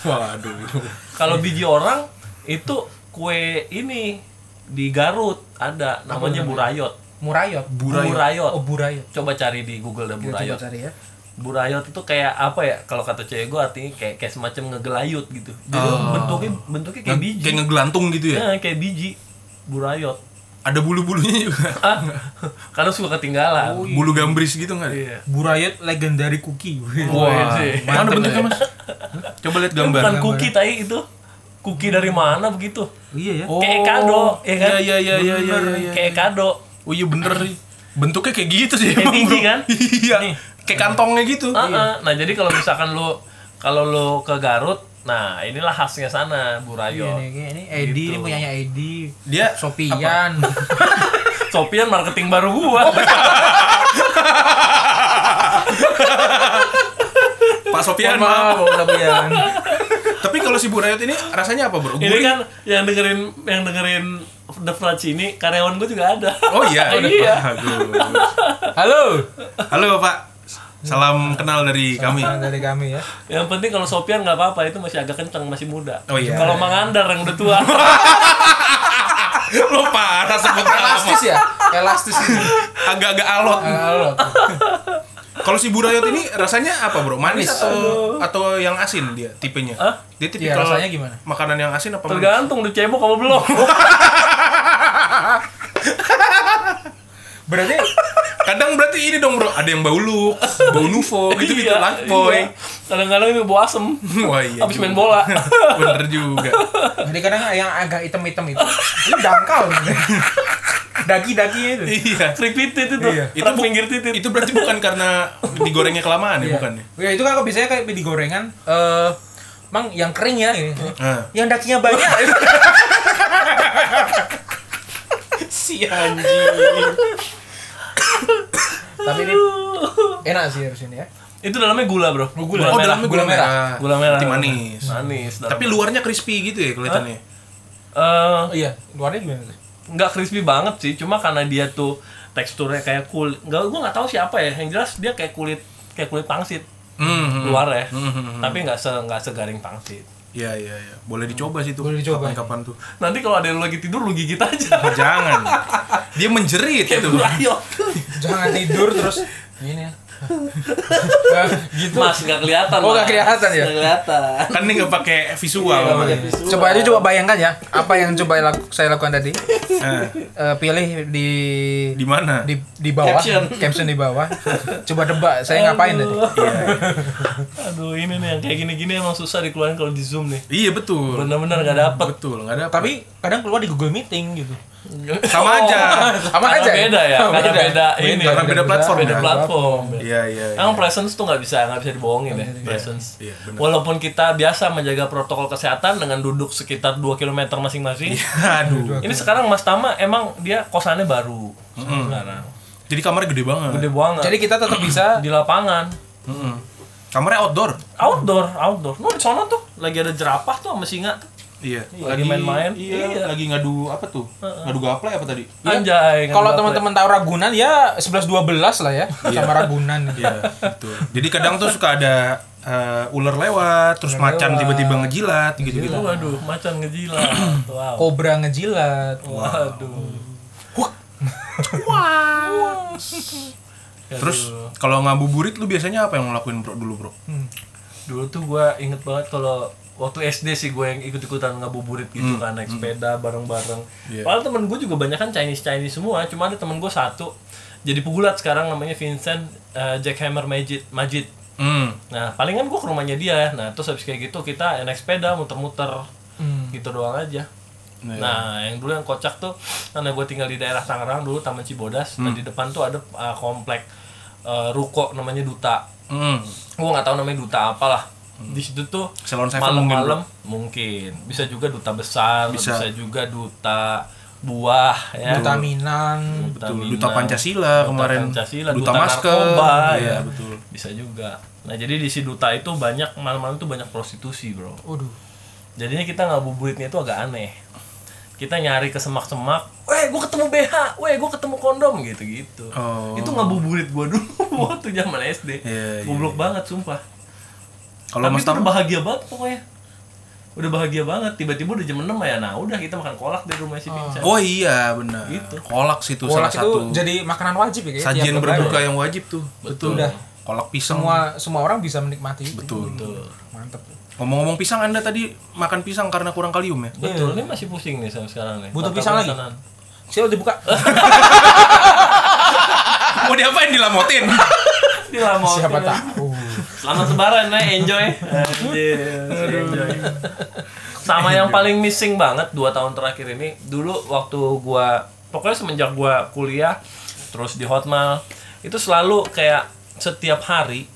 A: Waduh.
B: Kalau biji orang itu kue ini di Garut ada namanya burayot.
C: murayot
A: Burayot.
B: Burayot.
C: oh burayot
B: Coba cari di Google dah
C: Kita
B: burayot.
C: coba cari ya
B: burayot itu kayak apa ya kalau kata cewek gue artinya kayak kayak semacam ngegelayut gitu jadi bentuknya bentuknya kayak
A: Oh. Nge-
B: biji
A: Kayak ngegelantung gitu ya.
B: Ya, kayak biji burayot
A: Ada bulu-bulunya juga.
B: ah karena suka ketinggalan
A: Bulu gambris gitu nggak? ada?
B: iya
C: burayot legendary cookie
A: Wah, ya.
B: Wah, sih.
A: mana bentuknya
C: ya.
A: mas? Coba lihat gambar.
B: Ya, bukan cookie tai itu cookie dari mana begitu
C: iya ya
B: kayak kado ya kan
A: Oh. Iya iya iya iya
B: Bener,
A: iya, iya.
B: kayak kado
A: Oh iya bener sih. Bentuknya kayak gitu sih.
B: Kayak
A: emang,
B: biji,
A: bro.
B: kan?
A: Iya. Kayak kantongnya gitu.
B: Ah, ah. nah jadi kalau misalkan lu kalau lu ke Garut nah inilah khasnya sana
C: Iya
B: burayot
C: nih, kayak ini Edi,
B: Gitu.
C: ini punyanya Edi.
A: Dia
C: Sopian.
B: Sopian marketing baru gua
A: Oh, Pak Sofian
C: Mohon maaf,
A: maaf.
C: Bapak Sopian.
A: Tapi kalau si Burayot ini rasanya apa bro?
B: Ini
A: Gurih.
B: kan yang dengerin yang dengerin The Flash ini karyawan gue juga ada.
A: Oh iya.
B: Iya.
A: Bagus.
C: Halo.
A: Halo Pak. Salam kenal dari kami.
C: Salam dari kami ya.
B: Yang penting kalau Sopian nggak apa-apa itu masih agak kenceng masih muda.
A: Oh iya.
B: Kalau Mangandar yang udah tua.
A: Lo parah sebut nama.
C: Elastis ya? Elastis ini.
A: Agak-agak alot.
C: Halo.
A: Kalau si Burayot ini rasanya apa bro? Manis
B: Manis.
A: atau atau yang asin dia tipenya?
B: Hah?
A: Dia tipikal
C: Iya, rasanya gimana?
A: Makanan yang asin apa manis?
B: Tergantung dicebok apa belum.
C: Berarti
A: Kadang berarti ini dong bro, ada yang bau lu, bau nuvo, gitu-gitu
B: Iya,
A: life gitu, boy.
B: iya. Kadang-kadang ini bau asem.
A: Wah iya.
B: Abis main
A: juga.
B: bola.
A: Bener juga.
C: jadi kadang yang agak hitam-hitam itu, itu dangkal. Daki-dakinya itu.
A: iya.
B: Trik titit itu.
C: Iya.
B: Itu
A: bu-
B: pinggir titit.
A: Itu berarti bukan karena digorengnya kelamaan ya,
C: Iya.
A: bukan ya?
C: Ya itu kan kalau biasanya kayak di gorengan eh mang yang kering ya ini.
A: Ah.
C: Yang dakinya banyak.
A: Si anjing.
C: Tapi ini enak sih harus ini ya.
B: Itu dalamnya gula, Bro.
A: Oh,
B: merah.
A: dalamnya gula
C: gula merah.
A: merah.
B: Gula merah.
A: Tapi manis.
B: Manis. dalam-
A: Tapi luarnya crispy gitu ya kelihatannya.
B: Eh,
C: Oh, iya, luarnya gimana tuh?
B: nggak crispy banget sih cuma karena dia tuh teksturnya kayak kulit nggak gue nggak tahu siapa ya yang jelas dia kayak kulit kayak kulit pangsit
A: Hmm.
B: luar ya
A: Hmm, hmm, hmm.
B: tapi nggak se nggak segaring pangsit
A: Iya iya iya. Boleh dicoba sih itu.
C: Boleh dicoba.
A: Kapan-kapan tuh.
B: nanti kalau ada yang lagi tidur lu gigit aja
A: Oh, jangan. Dia menjerit itu.
B: ayo
C: Jangan tidur terus gini ya.
B: gitu mas nggak kelihatan
C: Oh, nggak
B: Mas.
C: kelihatan ya?
B: nggak kelihatan
A: Kan ini nggak pakai visual.
C: Iya,
A: Bang.
C: Coba aja coba bayangkan ya, apa yang coba laku- saya lakukan tadi?
A: Ah,
C: Eh, pilih di
A: Di mana?
C: di di bawah
B: Caption.
C: caption di bawah. Coba debak saya ngapain tadi?
B: aduh ini nih yang kayak gini-gini emang susah dikeluarin kalau di zoom nih
A: Iya betul.
B: bener-bener nggak dapet
A: Betul, nggak ada.
C: Tapi kadang keluar di Google Meeting gitu.
A: Sama aja.
B: Oh.
C: Sama
B: Karena
C: aja.
B: beda ya, karena beda ini.
A: Karena beda platform.
B: beda
A: ya?
B: platform
A: Iya iya. iya.
B: Emang presence tuh nggak bisa nggak bisa dibohongin ya presence.
A: Iya, benar.
B: Walaupun kita biasa menjaga protokol kesehatan dengan duduk sekitar 2 km masing-masing.
A: Aduh.
B: Ini sekarang Mas Tama emang dia kosannya baru sekarang.
A: Jadi kamarnya gede banget.
B: Gede banget.
C: Jadi kita tetap bisa
B: di lapangan
A: Mm-mm. Kamarnya outdoor.
B: outdoor outdoor. Nuh di sono tuh lagi ada jerapah tuh sama singa tuh.
A: Iya.
B: Lagi main-main.
A: Iya,
B: Iya.
A: Lagi ngadu apa tuh? Ngadu gaple apa tadi?
B: Anjay.
C: Iya. kalau
B: nggak
C: teman-teman tahu Ragunan ya 11 12 lah ya sama Ragunan.
A: Iya, betul. Jadi kadang tuh suka ada eh, ular lewat, terus macan tiba-tiba ngejilat
B: dapet.
C: gitu.
A: gitu-gitu.
B: Waduh, macan Gitu, ngejilat. Wow.
C: Kobra ngejilat.
B: Waduh.
A: Terus kalau ngabuburit lu biasanya apa yang lo lakuin bro dulu bro?
B: dulu tuh gua inget banget kalau waktu SD sih gue yang ikut-ikutan ngabuburit
C: Mm,
B: gitu kan naik sepeda bareng-bareng.
A: Iya.
B: Padahal temen gue juga banyak kan Chinese Chinese semua, cuma ada temen gue satu jadi pegulat sekarang namanya Vincent eh, Jackhammer Majid. Majid.
A: Hmm.
B: Nah palingan
C: Hmm.
B: gue ke rumahnya dia. Nah terus habis kayak gitu kita naik sepeda muter-muter gitu doang aja.
A: Hmm. Iya.
B: Nah, yang dulu yang kocak tuh karena gue tinggal di daerah Tangerang dulu Taman Cibodas.
A: Hmm.
B: Nah, di depan tuh ada uh, komplek uh, ruko namanya Duta.
A: Hmm.
B: Gue nggak tahu namanya Duta apalah. Di situ tuh
A: Salon Hmm. Seven
B: malam-malam mungkin, bisa juga duta besar, bisa,
A: Bisa.
B: juga duta buah ya.
C: Duta Minang
A: Betul.
B: Mina,
A: Duta Pancasila
B: Duta
A: kemarin.
B: Pancasila,
A: Duta
B: duta,
A: masker.
B: narkoba,
A: Iya,
B: ya.
A: betul.
B: Bisa juga. Nah, jadi di si duta itu banyak malam-malam itu banyak prostitusi, Bro.
C: waduh
B: jadinya kita ngabuburitnya itu agak aneh kita nyari ke semak-semak, weh gue ketemu BH, weh gue ketemu kondom gitu-gitu.
A: Oh.
B: Itu ngabuburit gue dulu waktu zaman SD.
A: Iya, iya,
B: Goblok banget sumpah.
A: Kalau
B: Tapi
A: Mas
B: itu udah
A: Tama
B: bahagia banget pokoknya. Udah bahagia banget, tiba-tiba udah jam 6 ya. Nah, udah kita makan kolak di rumah si Pincan.
A: Oh iya benar.
B: Gitu.
A: Kolak sih itu salah
C: kolak itu
A: satu
C: jadi makanan wajib ya kayaknya,
A: sajian
C: tiap lebaran.
A: berbuka yang wajib tuh.
B: Betul.
C: Udah.
A: Kolak pisang.
C: semua semua orang bisa menikmati itu.
A: Betul.
C: mantep
A: Ngomong-ngomong pisang Anda tadi makan pisang karena kurang kalium ya?
B: Betul, ini masih pusing nih sama sekarang nih.
C: Butuh
B: Mata
C: pisang lagi?
B: makanan.
C: Silo dibuka
A: Mau diapain dilamotin?
B: Dilamotin.
C: siapa tahu
B: Selamat lebaran ya, enjoy. Anjir, enjoy. Sama yang paling missing banget dua tahun terakhir ini, dulu waktu gua pokoknya semenjak gua kuliah terus di Hotmail itu selalu kayak setiap hari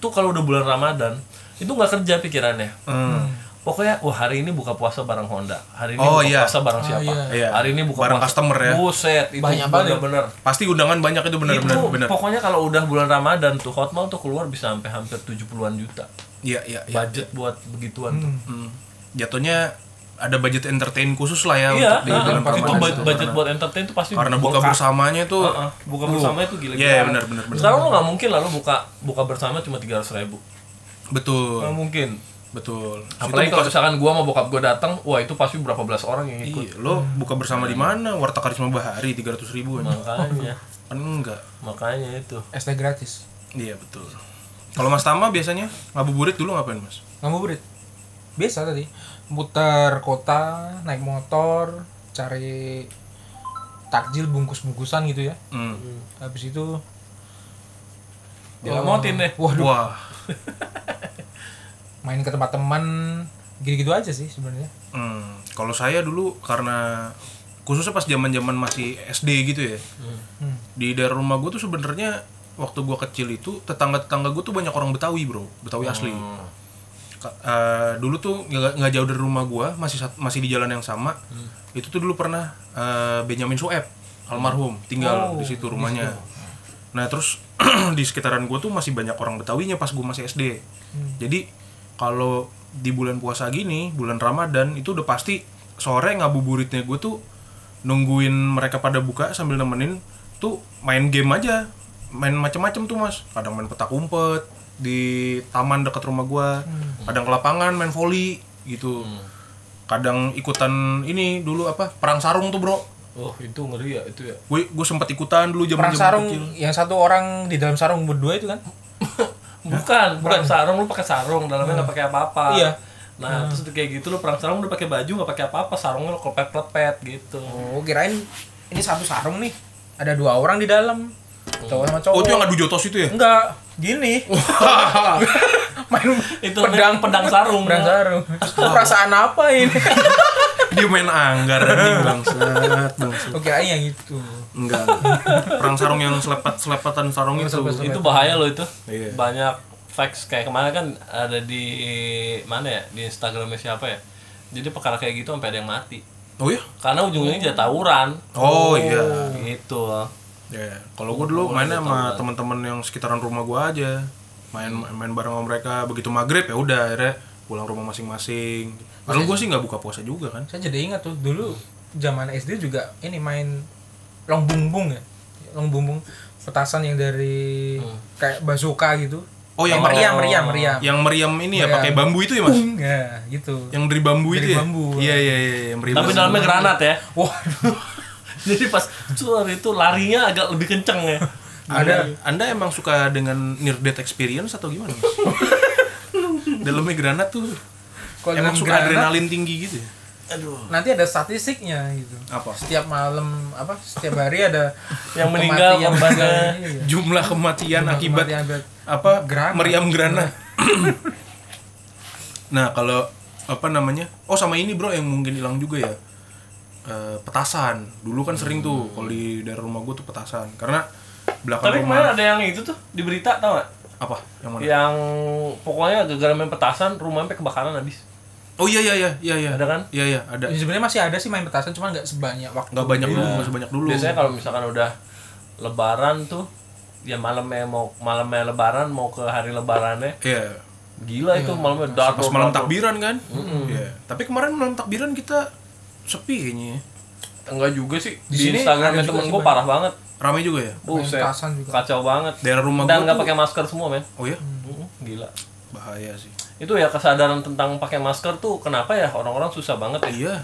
B: tuh kalau udah bulan Ramadan itu nggak kerja pikirannya.
A: Hmm.
B: Pokoknya wah hari ini buka puasa bareng Honda, hari ini
A: Oh,
B: buka
A: iya.
B: puasa bareng
C: Oh,
B: siapa?
A: iya.
B: Hari ini buka
A: Bareng
B: puasa-
A: customer ya.
B: Buset, itu
C: Banyak banget.
B: bener-bener
A: Pasti undangan banyak itu
B: itu
A: benar-benar benar.
B: pokoknya kalau udah bulan Ramadan tuh Hotmail tuh keluar bisa sampai hampir 70-an juta
A: Iya, iya, iya.
B: budget buat begituan tuh.
A: Hmm. Jatuhnya ada budget entertain khusus lah ya
B: Iya,
A: untuk di
B: nah,
A: bulan
B: itu
A: Ramadan
B: bu-
A: itu.
B: budget
A: Karena-
B: buat entertain tuh pasti
A: karena buka bersamanya itu
B: Heeh, buka bersama itu gila.
A: Iya, iya, benar, benar, benar.
B: Sekarang lo nggak mungkin lah lo buka buka bersama cuma 300 ribu.
A: betul,
B: Nggak mungkin.
A: betul.
B: Oh. Apalagi
A: Itu buka-
B: kalau misalkan gua mau bokap gua datang, wah itu pasti berapa belas orang yang ikut. Iya.
A: Iya, lo buka bersama di mana? Warta Karisma Bahari 300 ribu aja.
B: Makanya,
A: Kan enggak.
B: makanya itu.
C: es teh gratis
A: Iya, betul. Kalau Mas Tama biasanya ngabuburit dulu ngapain, Mas?
C: ngabuburit biasa tadi muter kota naik motor cari takjil bungkus bungkusan gitu ya
A: Hmm.
C: habis itu
B: Dilamotin deh.
C: waduh
A: Wah.
C: main ke tempat teman gitu-gitu aja sih sebenarnya
A: Hmm. Kalau saya dulu karena khususnya pas zaman-zaman masih SD gitu ya.
C: Hmm.
A: Di daerah rumah gue tuh sebenarnya waktu gua kecil itu tetangga-tetangga gue tuh banyak orang Betawi, Bro. Betawi asli.
B: Oh.
A: Ka- eh, dulu tuh nggak nggak jauh dari rumah gua, masih sat- masih di jalan yang sama. Itu tuh dulu pernah eh, Benyamin Sueb almarhum tinggal Oh, di situ rumahnya. Nah, terus di sekitaran gua tuh masih banyak orang Betawinya pas gua masih SD. Jadi kalau di bulan puasa gini, bulan Ramadan itu udah pasti sore ngabuburitnya gue tuh nungguin mereka pada buka sambil nemenin tuh main game aja main macem-macem tuh mas kadang main petak umpet di taman dekat rumah gua kadang ke lapangan main volley gitu kadang ikutan ini dulu apa perang sarung tuh bro
B: Oh itu ngeri ya itu ya.
A: gue gue sempat ikutan dulu zaman
C: perang
A: zaman
C: sarung
A: kecil
C: yang satu orang di dalam sarung berdua itu kan
B: Bukan, bukan sarung lu pakai sarung, dalamnya nggak pakai apa-apa.
C: Iya.
B: Nah, terus kayak gitu lu perang sarung udah pakai baju nggak pakai apa-apa, sarungnya lu klepet-klepet gitu.
C: oh kirain ini satu sarung nih ada dua orang di dalam cowok sama cowok
A: oh itu yang adu jotos itu ya
C: enggak gini main
B: Itu
C: pedang
B: pedang pedang sarung.
C: perang sarung perasaan apa ini
A: dia main anggar anjing bangsat bangsat
C: oke kirain yang itu
A: enggak perang sarung yang selepet selepatan sarung itu
C: selepet-selepet.
B: itu bahaya loh itu
A: Iya.
B: banyak facts kayak kemarin kan ada di mana ya di Instagramnya siapa ya jadi perkara kayak gitu sampai ada yang mati
A: oh ya
B: karena ujung-ujungnya jadi tawuran
A: oh iya
B: gitu
A: Ya, kalau gue
C: Oh,
A: dulu mainnya
C: iya,
A: sama teman-teman yang sekitaran rumah gue aja, main main bareng sama mereka. Begitu maghrib ya udah akhirnya pulang rumah masing-masing. Padahal
C: Iya,
A: gue sih nggak buka puasa juga kan.
C: saya jadi ingat tuh dulu zaman SD juga ini main long bumbung ya long bumbung petasan yang dari kayak bazooka gitu
A: Hmm. Oh yang
C: yang meriam meriam meriam
A: yang meriam ini ya
C: Meriam.
A: pakai bambu itu ya mas?
C: Bung, ya gitu
A: Yang dari bambu
C: Dari
A: itu ya?
C: bambu.
A: Iya iya iya yang meriam.
B: tapi dalamnya granat ya
C: waduh
B: jadi pas suar itu larinya agak lebih kenceng ya
A: Anda, Anda emang suka dengan near death experience atau gimana? Mas? dalamnya granat tuh
C: kalau
A: emang
C: dalam
A: suka
C: granat,
A: adrenalin tinggi gitu ya?
B: aduh
C: nanti ada statistiknya gitu
A: Apa?
C: setiap malam apa setiap hari ada
B: Yang meninggal,
C: kematian,
B: korbannya.
C: iya.
A: Jumlah kematian akibat
C: Kematian akibat
A: apa
C: Gerana.
A: meriam gerana nah kalau apa namanya oh sama ini bro yang mungkin hilang juga ya eh, petasan. Dulu kan sering tuh kalau di daerah rumah gue tuh petasan karena belakang
B: Hmm. Tapi Iya.
A: rumah
B: kemarin ada yang itu tuh di berita tau gak?
A: apa yang mana?
B: Yang pokoknya gara-gara main petasan rumahnya sampai kebakaran habis.
A: Oh iya iya iya iya iya.
B: Ada kan?
A: Iya iya ada.
C: Ya, sebenarnya masih ada sih main petasan cuman nggak sebanyak waktu
A: Nggak banyak dulu, nggak sebanyak dulu.
B: Iya. Biasanya kan kalau misalkan udah lebaran tuh ya malamnya mau malamnya lebaran mau ke hari lebarannya
A: Iya.
B: gila
C: Iya.
B: itu malamnya dar
A: Pas malam takbiran kan? Iya. Tapi kemarin malam takbiran kita sepi kayaknya. ya.
B: enggak juga sih di,
C: sini
B: Instagramnya
C: ada
B: temen
C: juga sih
B: gue
C: banyak.
B: parah banget
A: Ramai juga ya?
B: Buset,
C: petasan juga.
B: kacau banget
A: Daerah rumah
B: dan
A: gue.
B: nggak pakai masker semua men
A: Oh ya?
B: Mm, gila
A: Bahaya sih.
B: itu ya kesadaran tentang pakai masker tuh kenapa ya orang-orang susah banget ya
A: Iya.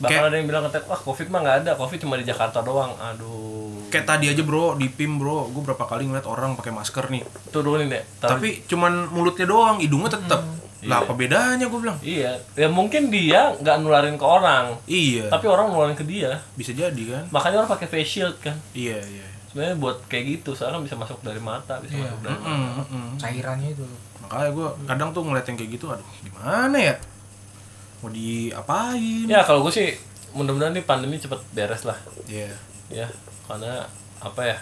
B: bahkan
A: Kayak-
B: ada yang bilang katanya wah covid mah nggak ada covid cuma di Jakarta doang aduh
A: Kayak tadi aja bro, di PIM bro, gue berapa kali ngeliat orang pakai masker nih.
B: turunin deh Taruh-
A: Tapi cuman mulutnya doang, hidungnya tetep.
B: Hmm.
A: Lah apa bedanya gue bilang?
B: iya ya mungkin dia nggak nularin ke orang
A: Iya.
B: tapi orang nularin ke dia
A: Bisa jadi kan?
B: makanya orang pakai face shield kan
A: Iya iya.
B: sebenarnya buat kayak gitu soalnya kan bisa masuk dari mata bisa masuk dari
A: Mm, mm,
B: hmm.
A: mm.
C: cairannya itu
A: Makanya gue kadang tuh ngeliat yang kayak gitu, aduh gimana ya? Mau diapain?
B: ya kalau gue sih mudah-mudahan nih pandemi cepet beres lah
A: Iya.
B: ya karena apa ya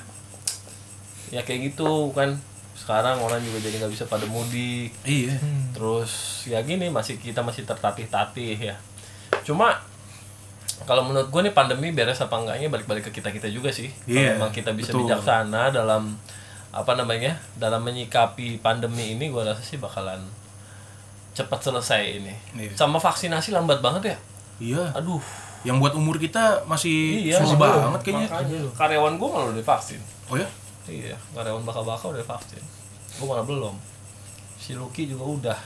B: ya kayak gitu kan sekarang orang juga jadi nggak bisa pada mudik
A: Iya.
B: Hmm. terus ya gini masih kita masih tertatih-tatih ya cuma kalau menurut gue nih pandemi beres apa enggaknya balik-balik ke kita kita juga sih
A: Iya,
B: kalau memang kita bisa
A: betul.
B: bijaksana dalam apa namanya dalam menyikapi pandemi ini gue rasa sih bakalan cepat selesai ini
A: Iya.
B: sama vaksinasi lambat banget ya
A: Iya.
B: aduh
A: Yang buat umur kita masih
B: Iya,
A: susah
B: belum.
A: banget kayaknya.
B: makanya karyawan gue malah udah divaksin
A: Oh ya?
B: iya karyawan bakal-bakal udah divaksin gue malah belum si Lucky juga udah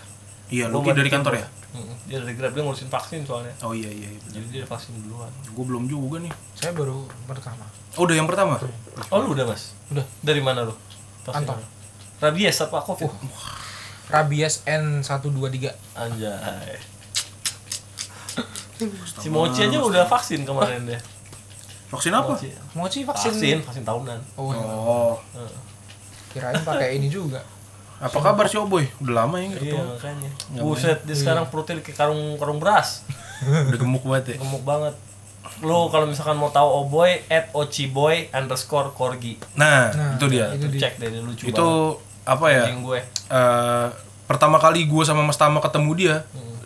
A: Iya,
B: Gua
A: Lucky
B: buat
A: dari kantor ya?
B: Mm, dia dari grab dia ngurusin vaksin soalnya
A: Oh iya iya. iya.
B: Jadi dia vaksin duluan.
A: Gue belum juga nih.
C: saya baru pertama
A: Oh, udah yang pertama?
B: Oh lu udah mas?
C: Udah.
B: Dari mana lu? Vaksin
C: Kantor. Oh.
B: lu? Rabies apa covid?
C: rabies N123
B: Anjay. Si Mochi aja udah vaksin kemarin deh.
A: Vaksin apa?
B: Mochi.
C: mau sih vaksin,
B: Vaksin, vaksin tahunan.
C: oh iya.
A: Oh.
C: kirain pakai ini juga
A: Apa kabar si Oboy? Udah lama ya nggak Iya.
B: Iya
A: ketemu.
B: makanya. Buset, dia sekarang perutnya kayak karung karung beras.
A: Udah gemuk banget ya.
B: Gemuk banget. Lu kalau misalkan mau tahu Oboy at Ochiboy underscore Korgi.
A: Nah, itu dia.
B: Itu cek deh dia lucu
A: Itu
B: banget.
A: apa ya?
B: Anjing gue.
A: eh, pertama kali gue sama Mas Tama ketemu dia,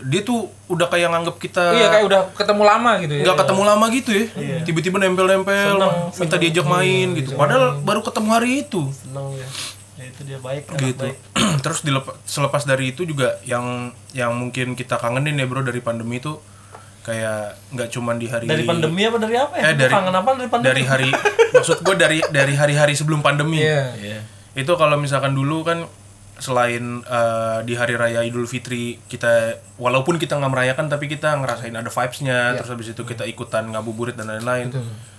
A: dia tuh udah kayak nganggep kita
C: iya kayak udah ketemu lama gitu ya
A: nggak ketemu lama gitu ya. Tiba-tiba nempel-nempel, minta diajak main gitu. Padahal baru ketemu hari itu.
B: Seneng dia. Ya itu dia baik, anak
A: gitu.
B: baik.
A: Terus dilep- selepas dari itu juga yang yang mungkin kita kangenin ya bro dari pandemi itu kayak nggak cuman di hari
B: Dari pandemi apa dari apa ya?
A: Iya. Eh,
B: Lu
A: dari-
B: kangen apa dari pandemi?
A: dari hari maksud gue dari dari hari-hari sebelum pandemi.
C: iya
B: Iya.
A: Itu kalau misalkan dulu kan selain eh, di hari raya Idul Fitri kita walaupun kita nggak merayakan tapi kita ngerasain ada vibes-nya terus habis itu kita ikutan ngabuburit dan lain-lain.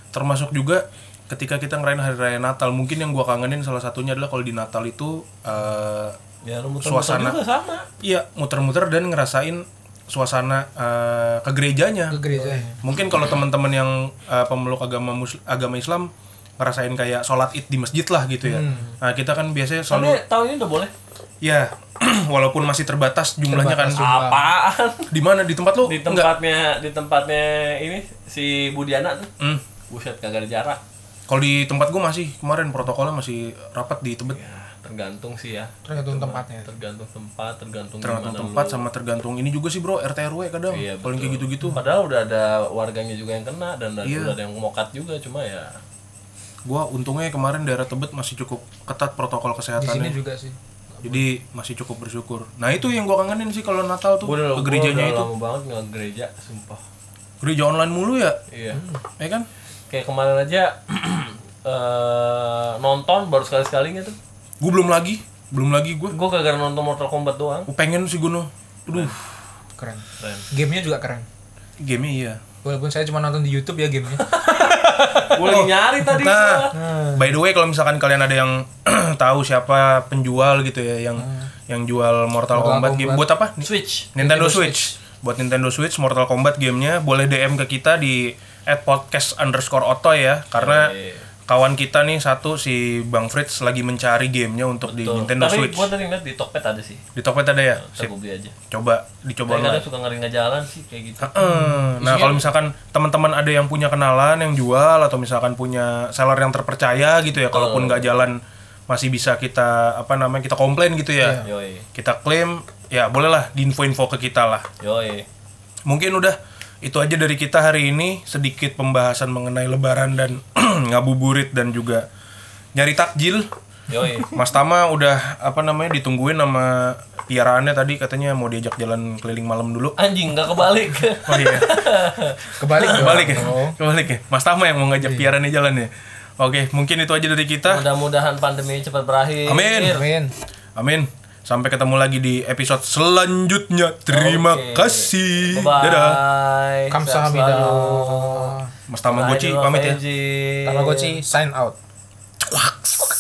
A: Termasuk juga ketika kita ngerayain hari raya Natal mungkin yang gua kangenin salah satunya adalah kalau di Natal itu eh,
B: Ya lu muter
A: Suasana.
B: juga sama.
A: Iya, muter-muter dan ngerasain suasana eh, ke gerejanya.
C: ke gereja ya
A: Mungkin kalau teman-teman yang eh, pemeluk agama Mus- agama Islam ngerasain kayak sholat id di masjid lah gitu ya. Nah, kita kan biasanya
B: Tapi
A: selalu
B: tahun ini udah boleh.
A: ya walaupun masih terbatas jumlahnya kan.
B: Apaan?
A: Di mana di tempat lu?
B: Di tempatnya di tempatnya ini si Budiana tuh.
A: Hmm.
B: Buset kagak ada jarak.
A: Kalau di tempat gua masih kemarin protokolnya masih rapat di Tebet.
B: Ya, tergantung sih ya.
C: tergantung tempatnya
B: Tergantung tempat, tergantung
A: Tergantung
B: gimana
A: tempat sama tergantung ini juga sih bro RT RW kadang
B: Iya,
A: paling kayak gitu-gitu.
B: lu. Padahal udah ada warganya juga yang kena dan udah,
A: Iya.
B: udah ada yang mokat juga cuma ya
A: Gua untungnya kemarin daerah Tebet masih cukup ketat protokol
C: di
A: kesehatannya.
C: sini juga sih
A: Jadi masih cukup bersyukur. Nah itu yang gua kangenin sih kalau Natal tuh
B: gua udah,
A: ke
B: gua
A: gerejanya
B: udah
A: itu.
B: lama banget nggak ke gereja, sumpah.
A: Gereja online mulu ya,
B: Iya.
A: ya kan?
B: Kayak kemarin aja eh nonton baru sekali-sekalinya tuh.
A: Gue belum lagi, belum lagi gue.
B: Gue gara-gara nonton Mortal Kombat doang.
A: Gue pengen sih Guno. Aduh,
C: keren
B: Keren.
C: gamenya juga keren
A: game iya.
C: walaupun saya cuma nonton di YouTube ya gamenya
B: Gue lagi nyari tadi. gua.
A: Nah, by the way kalau misalkan kalian ada yang tahu siapa penjual gitu ya yang yang jual Mortal, Kombat, game buat apa? Ni-
B: Switch.
A: Nintendo, Switch. Buat Nintendo Switch Mortal Kombat gamenya boleh DM ke kita di @podcast_otoy ya karena
B: Iya.
A: kawan kita nih satu si Bang Fritz lagi mencari gamenya untuk di
B: Tuh.
A: Nintendo
B: Tapi
A: Switch.
B: gua tadi ngeliat di Tokped ada sih.
A: Di Tokped ada ya?
B: Ntar
A: Sip.
B: gua beli aja.
A: Coba dicoba
B: Tapi kadang
A: online.
B: suka ngeri nggak jalan sih kayak gitu.
A: Heeh. Nah, kalau misalkan teman-teman ada yang punya kenalan yang jual atau misalkan punya seller yang terpercaya gitu ya, kalaupun nggak jalan masih bisa kita apa namanya kita komplain gitu ya.
B: Yoi.
A: Kita klaim ya bolehlah diinfo-info ke kita lah.
B: Yoi.
A: Mungkin udah itu aja dari kita hari ini sedikit pembahasan mengenai lebaran dan ngabuburit dan juga nyari takjil.
B: Yoi.
A: Mas Tama udah apa namanya ditungguin sama piaraannya tadi katanya mau diajak jalan keliling malam dulu.
B: Anjing nggak kebalik.
A: Oh iya.
C: Kebalik dong.
A: Kebalik ya? Kebalik ya? Mas Tama yang mau ngajak piarannya jalan ya? Oke, mungkin itu aja dari kita.
B: Mudah-mudahan pandemi cepat berakhir.
A: Amin.
C: Amin.
A: Amin. Sampai ketemu lagi di episode selanjutnya. Terima
B: Oke.
A: kasih.
B: Bye.
A: Dadah.
C: Kamsahamnida.
A: Mas Tama Goci pamit ya.
C: Tamagotchi sign out.
A: Waks.